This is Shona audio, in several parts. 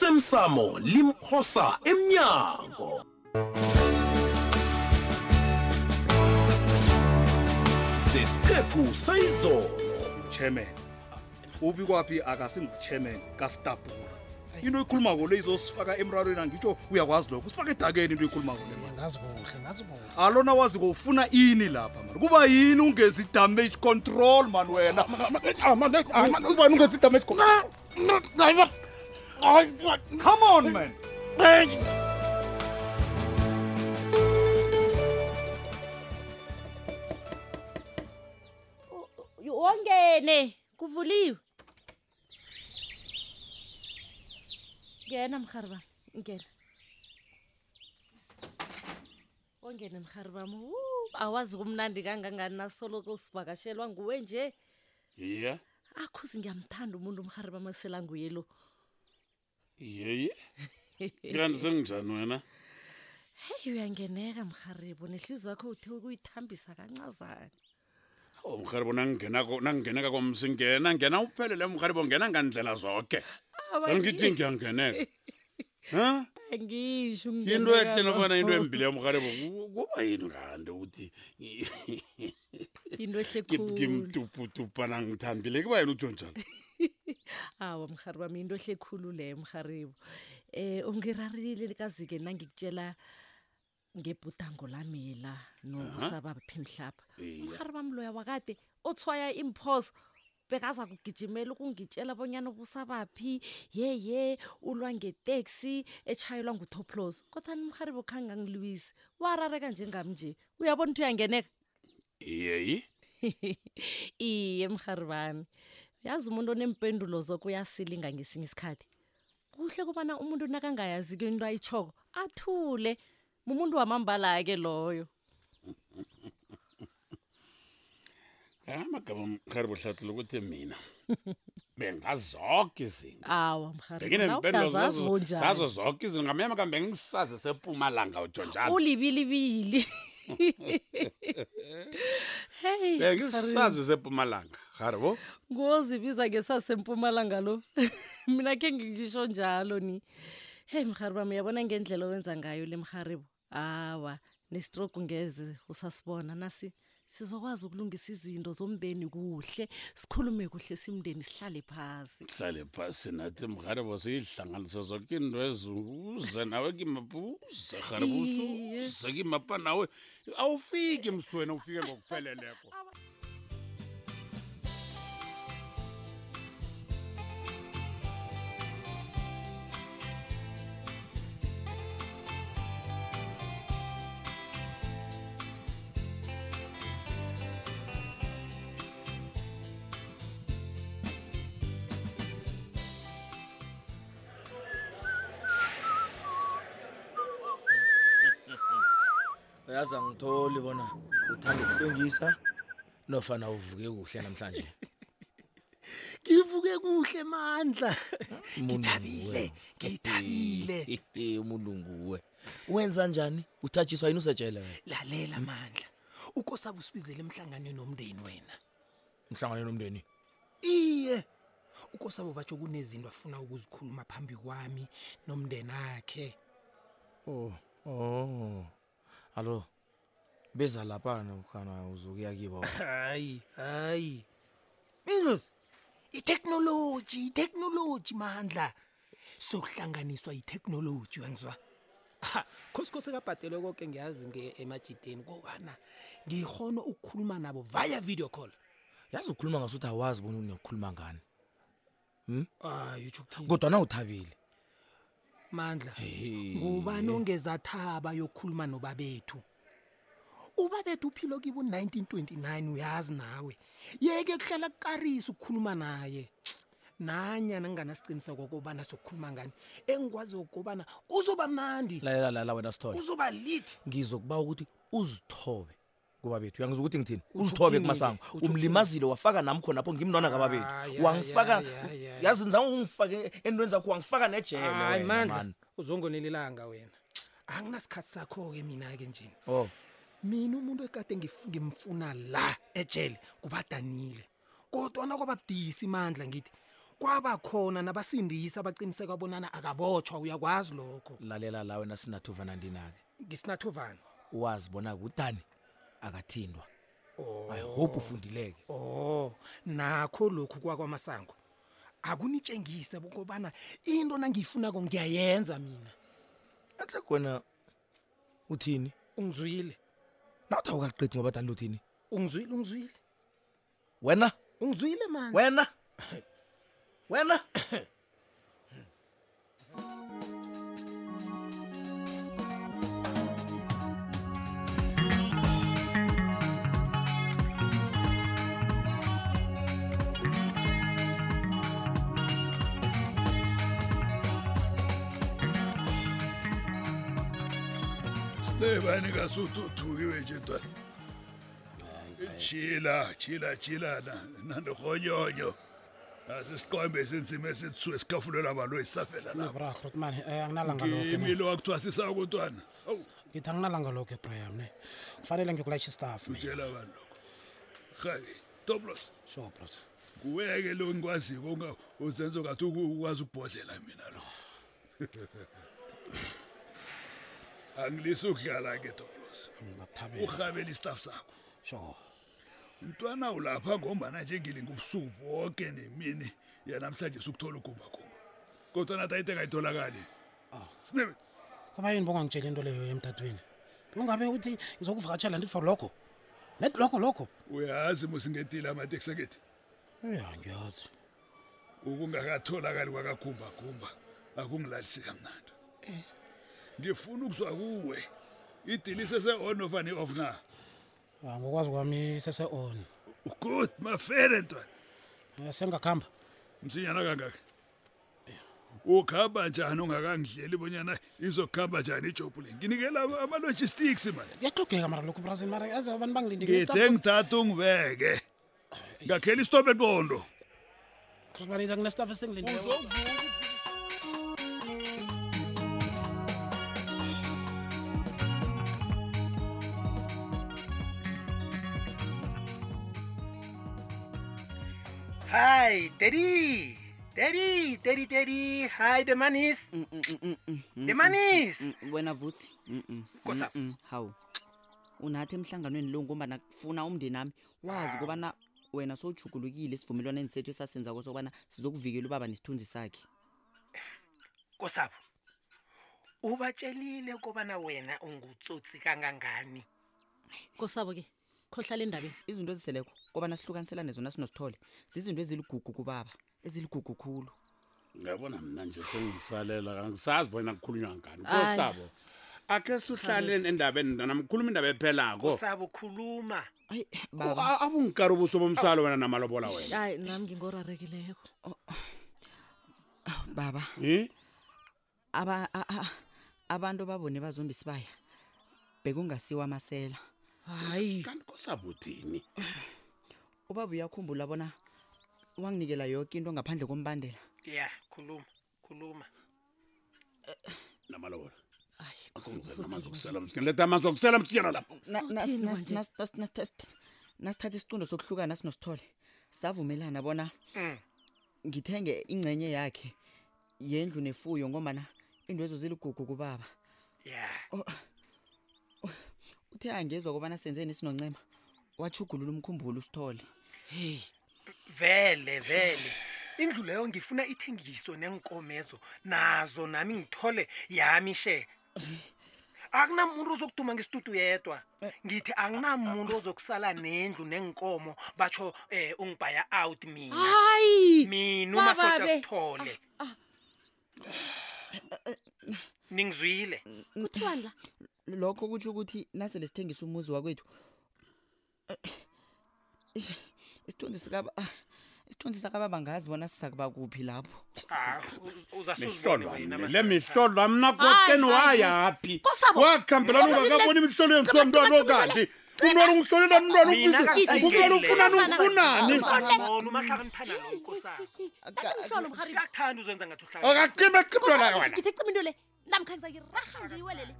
osemsamo limphosa emnyango sesiqephu sayizolo chairman ubi kwaphi akasingu-chairman kastabula into ikhulumako le izosifaka emrarweni angitsho uyakwazi lokho usifake edakeni into ikhulumako le mani ngazi kuhle ngazi kuhle alona waziko ufuna ini lapha mani kuba yini ungezi damage control mani wena ubani ungenzi idamage come on man wongene kuvuliwe ngena mrharibam ngena wongene mrharibam awazi kumnandi kangangani nasoloko sivakashelwa nguwe nje ye akhuze ngiyamthanda umuntu umrharibam asela nguye lo yeye kanti senginjani wena heyi uyangeneka mrharibo nehlizi wakho uthe ukuyithambisa kancazana o mharibo nangingeneka komsingena ngena uphelele mharibo ngena ngandlela zonke angithi ngiyangeneka ha angisho into ehle nobona into embili yamharibo kuba yini kanti ukuthi into ehle khulu ngimtuputupana ngithambile kuba yena utsho njalo awa mhari wami into ehle khulu leyo mharibo um ungirarile likazike nangikutshela ngebhudango lamila nokusabaphi mhlapha Iya. umhari wami loya wakade othwaya imphoso bekaza kugijimela ukungitshela bonyana ubusabaphi yeye ulwa ngeteksi etshayelwa ngutoplos kodwani umharibo khange angilwisi warareka njengam nje uyabona ukuthi uyangeneka yeyi iye mhari bami yazi umuntu onempendulo zokuyasilinga ngesinye isikhathi kuhle kubana umuntu nakangayaziko into ayitshoko athule mumuntu wamambala-ke loyo amagama mharibo hlathula ukuthi mina bengazoke izinto awa mhariazazi benginempendulozazo kunjani zonke izinto ngamanye amakambe ngisazi sepumalanga utsho njalo ulibilibili hey bengisazi sepumalanga haribo ngozibiza ngesasempumalanga lo mina khe ngingisho njalo ni heyi mhari bami uyabona ngendlela owenza ngayo le mharibo awa nestroke ngeze usasibona nasi sizokwazi ukulungisa izinto zomndeni kuhle sikhulume kuhle simndeni sihlale phasi hlale phasi nathi mharibo siyihlanganise zonke into ezuze nawe kimapuze haribo Iye. usuze kimapa nawe awufiki mswena ufike ngokupheleleko uyazi angitholi bona uthanda ukuhlwengisa nofana uvuke kuhle namhlanje ngivuke kuhle mandla Umuntu ngithabile nguwe. ngithabile Eh, umuntu nguwe wenza njani uthatshiswa yini usetshele wena lalela mandla ukosabe usibizele emhlanganweni nomndeni wena mhlangane nomndeni iye ukosabe batsho kunezinto afuna ukuzikhuluma phambi kwami nomndeni akhe o o allo oh. beza laphana ukhana uzokuya kibo hayi hayi minus itheknoloji itheknoloji mandla sokuhlanganiswa yitheknoloji uyangizwa khosikosi kabhatelwe konke ngiyazi nge- emajideni kokana ngihona ukukhuluma nabo via video call yazi ukhuluma ngasuthi awazi bona unokukhuluma ngani hayi utsho Ah, ukuthini? kodwana uthabile mandla ngubani ongezathaba yokukhuluma nobabethu ubabethu uphilo kibo 1929 uyazi nawe yeke kuhlala kukarisa ukukhuluma naye nanyana nginganasiqiniseko kokobana sokukhuluma ngani engikwaziyo kokobana uzoba mnandi lalela lala wena sithole uzoba lithi ngizokuba ukuthi uzithobe kuba bethu uyangizwa ukuthi ngithini Utsho uzithobe ukuthini-ke? kumasango Utsho ukuthini? umlimazile wafaka nami khona apho ngimntwana Ah, kababethu ya, wangifaka ya, ya, ya, ya. yazi nzange ungifake entweni zakho wangifaka hayi mandla nejele uzongonelelanga wena anginasikhathi sakho-ke mina-ke njeni o mina umuntu ekade ngif- ngimfuna la ejele kubadanile kodwana kwababudisi mandla ngithi kwaba khona nabasindisa abaqiniseka bonana akabotshwa uyakwazi lokho lalela la wena sinathuvana ndinake ngisinathuvana wazi bona kudani akathindwa oh, i hope ufundileke oh nakho lokhu kwakwamasango akunitshengise ukubana into nangiyifunako ngiyayenza mina ahle khona uthini ungizwile nawuthi awukaqedi ngoba dani luthini ungizwile ungizwile wena ungizwile mani wena wena Stebani kasuthuthukiwe nje twana. Chila, chila, chila na nandokhonyoyo. Asisiqombe sinzima esithuwe sikafulo labantu esafela lapha. brah rotman um anginalanga Kimi lokho lo wakuthiwa sisako ntwana. Awu, ngithi anginalanga lokho ebraham ne kufanele ngikulayisha istaff tshela abantu lokho. Hayi, Toplos, sure bros kuweke lo ngikwaziyo konga uzenzo ngathi ukwazi ubhodlela mina lo. Angilisi ukudlala ke Toplos. ngakuthabela Uhabela istaff sakho. sure mntwana ulapha ngombana njengilinga ubusuku bonke nemini yanamhlanje sukuthola ugumbagumba kodwa natayite kayitholakali sinebe kuba yini bongangitsheli into leyo emtatweni ungabe uthi ngizokuvakatshela ndithi for lokho net lokho lokho uyazi musingetile amateksi akithi ya ngiyazi ukungakatholakali kwakagumbagumba akungilalisi kamnandi ngifuna ukuzwa kuwe idilise se-on ofa ne-off na Ah, ngokwazi kwami sese-on good mafere ntwana Eh, sengakuhamba msinyana kangaka Eh. ukhamba njani ungakangidleli bonyana izokuhamba njani ijobu le nginikela ama- ama-logistics mani kuyaxogeka mara lokho brazil mara yazi abantu ngithe bangilindekile ngithatha ungibeke Ah, eh. ngakhela isitobe qondo kunestaff esingilindele Hi, Daddy. Daddy, Daddy, Daddy. Hi, the man is. The man is. Mm, wena vusi Kodwa- Mm, hawu unathi emhlanganweni lo ngombana kufuna umndeni nami wazi ukubana wena sowujugulukile esivumelwaneni sethu esasenzako sokubana sizokuvikela ubaba nesithunzi sakhe Kosapho. Ubatshelile kobana wena ungutsotsi kangangani. kosabo ke khohlala endabeni izinto eziseleko kobana sihlukaniselane zona sinosithole zizinto eziligugu kubaba eziligugu khulu ngiyabona mna nje sengisalela angisazi bona kukhulunywa ngani Ayi. kosabo akhe sihlaleni endabeni mntanamkhuluma indaba ephelako Kosapho khuluma. ayi baba abungikari ubuso bomsalo wena namalobola wena hayi nami ngingorarekileko baba Eh? aba, a, a, abantu babone bazombi sibaya bekungasiwo amasela hayi kanti kosabo uthini ubaba uyakhumbula bona wanginikela yoke into ngaphandle kombandela Yeah, khuluma. Khuluma. namalobola hayi Akungizela amanzi okusela msinyana. Letha amanzi okusela msinyana lapho Na- nas- Sawuthini nas- manje? nas- nas- nas- nas- nasithatha isicundo sokuhlukana sinosithole savumelana bona Mm. ngithenge ingcenye yakhe yendlu nefuyo ngombana indwezo ziligugu kubaba Yeah. uthe angezwa kobana senzeni sinoncema wachugulula umkhumbulo usithole Vele, vele. Indlu leyo ngifuna ithengiso nenkomezo nazo nami ngithole yami she. Akunamuntu ozokuduma ngesitutu yedwa. Ngithi akunamuntu ozokusala nendlu nenkomo batsho eh ungibaya out mina. hayi Mina uma bababe. sasithole. Ningizwile. kuthiwani la lokho kutsho ukuthi nasele sithengisa umuzi wakwethu eh, ish, isithunzi sikaba ah, isithunzi sakababa ngazi bona siza kuba kuphi lapho Ah, uzasuzibona mihlolwa mine. wena. ma- le mihlolwa mna kokeni wayaphi Kosabo. wakhambelana Kosabo, ungakaboni let's- imihlolo yenziwa Cima, mntwana cima, cima, okati umntwana unguhlolela mntwana Mina ukuze akasayingeni umntwana ufunani leyo. ufunani Ngibona umahlakaniphana lo nkosana. mhlolo mharib Uyathanda uzenza ngathi uhlakani. akacima ecimdo layo wena ngithi cima into le namkha ngizakiraha nje iwelele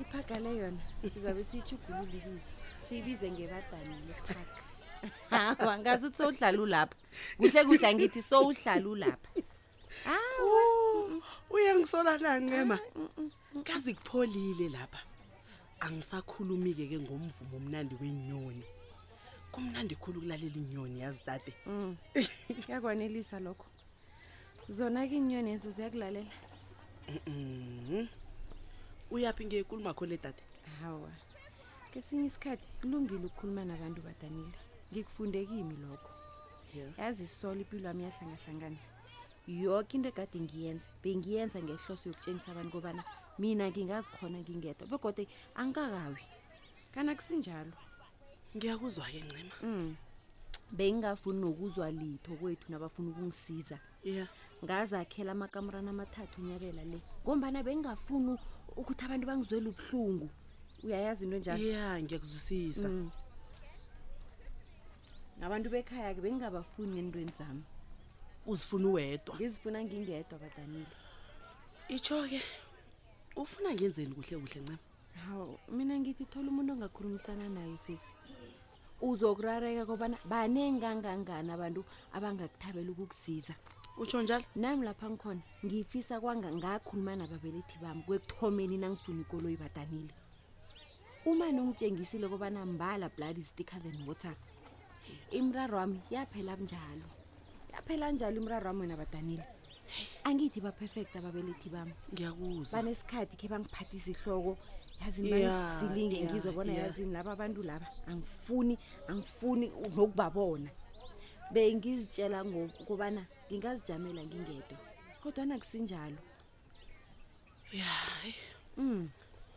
itraga le yona sizabe siyijugulule ibizo siyibize ngebadanile traga hawa ngazi ukuthi sowuhlalu lapha kuhle kuhle angithi sowuhlalu lapha uyangisola nancema kazi kupholile lapha angisakhulumi-ke ke ngomvumo omnandi wenyoni kumnandi khulu ukulalela inyoni yazi dade kuyakwanelisa lokho zona-ke iinyoni ezo ziyakulalela Mhm. uyaphi ngekulumakho le dade hawa kesinye isikhathi kulungile ukukhuluma nabantu badanile ngikufunde kimi lokho yazi solo impilo wami yahlangahlangana yoke into egade ngiyenza bengiyenza ngehloso yokutshengisa abantu kobana mina ngingazikhona ngingedwa begode angikakawi kana kusinjalo ngiyakuzwa-ke ncema mm. bengingafuni nokuzwa litho kwethu nabafuna ukungisiza ya ngazakhela amakamerana amathathu unyabela le ngombana bengingafuni u- ukuthi abantu bangizwele ubuhlungu uyayazi into njalo ya ngiyakuzwisisa Mm. abantu bekhaya-ke bengingabafuni entweni zami uzifuna uwedwa ngizifuna ngingedwa badanile itsho-ke ufuna ngenzeni kuhle kuhle ncema hawu mina ngithi thola umuntu ongakhulumisana naye sesi uzokurareka kobana banengangangani abantu abangakuthabela ukukusiza utsho njalo nami lapha ngikhona ngifisa kwanga ngakhuluma nababelethi bami kwekuthomeni nangifuna ikoloyi badanile uma nongitshengisile kobana mbala blood is thicker than water imraro wami yaphela njalo yaphela njalo imraro wami wena badanile angithi ba-perfect ababelethi bami ngiyakuzwa banesikhathi khe bangiphathisa ihloko yazini Ya, banisilinge ya, ngizobona ya. yazini laba bantu laba angifuni angifuni nokubabona bengizitshela ngokubana ngingazijamela ngingedwa kodwana kusinjalo ya um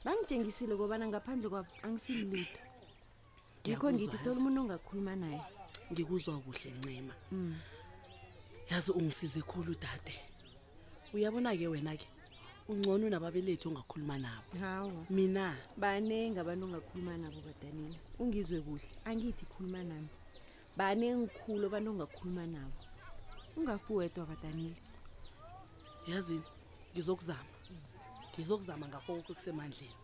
bangitshengisile kobana ngaphandle kwabo angisililito Ngiyakuzwa, ngikho ngithi thola yazi. umuntu ongakhuluma naye ngikuzwa kuhle ncema Mm. yazi ungisize khulu dade uyabona-ke wena-ke ungcono nababelethi ongakhuluma nabo hawa mina baningi abantu ongakhuluma nabo badanile ungizwe kuhle angithi khuluma nami baningi khulu abantu ongakhuluma nabo ungafi wedwa badanile yazini ngizokuzama ngizokuzama ngakho konke kusemandleni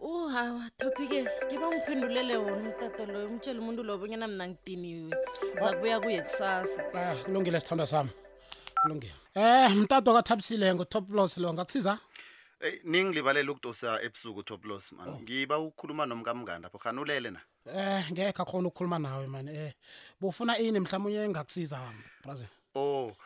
uhawa tophike ngiba ngiphendulele wona umtato loyo umtshele umuntu loyo bonyana mna ngidiniwe ngizakubuya kuye kusasa Ah, kulungile sithandwa sami kulungile um mtato kathabisile ngotop los lo ngakusiza eyi ningilibalela ukudosa ebusuku toplos mani Oh. ngiba ukukhuluma nomkamngani lapho hanulele na um ngekho akhona ukukhuluma nawe mani um bufuna ini mhlawumunye engakusiza brazil o Oh,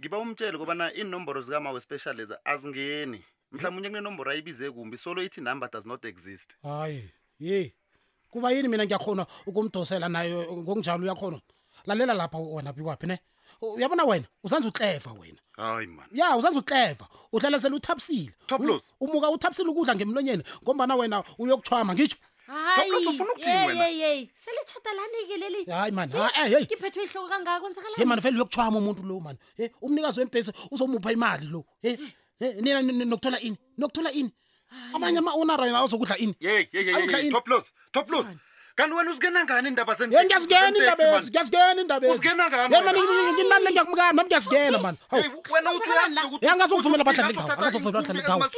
ngiba umtshele kobana iinomboro zikamawe specializa azingeni mhlawumunye kunenomboro ayibize kumbi solo ithi number does not exist hayi ye kuba yini mina ngiyakhona ukumdosela nayo ngokunjalo uyakhona lalela lapha wena bikwaphi ne U- uyabona wena usanze utleva wena hayi mani ya usanze utleva uhlelesele uthabisile U- umuka uthabisile ukudla ngemlonyeni ngombana wena uyokuthwama ngitsho hayiyeyeyeyi selitshatalanike leli hayi mani ha- eh, hey ngiphethwe ihloko kangaka kwenzakala ye mani vele uyokuthwama umuntu lo mani e umnikazi wembhesi uzomupha imali lo e nina ni- ni- nokuthola ini nokuthola ini amanye ama-onara yena azokudla ini Ayidla ini. toplos toplos kanti wena uzikena ngani indaba ye ngiyazikena indaba ezi ngiyazikena indaba eziyamanimani ngiyakumukana nami ngiyazikena mani ya ngazokuvumela badlala indawo akazokuvumela badlala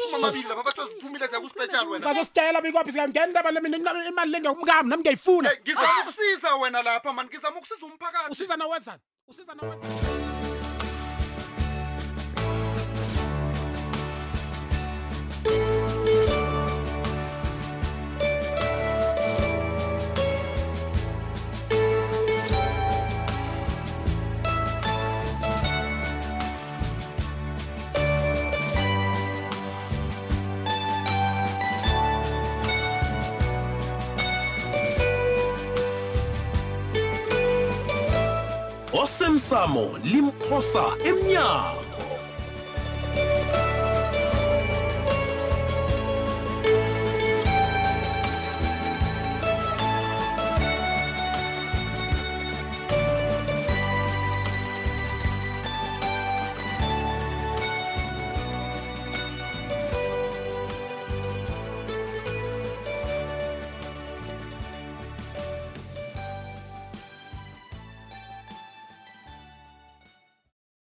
indawo ngazositshela bikwaphi siyangena indaba le mina imali- imali le ngiyakumukami nami ngiyayifuna ngizamkusiza wena lapha mani ngizama ukusiza umphakathi usiza nawenzani usiza nawenzani osemsamo limphosa emnyango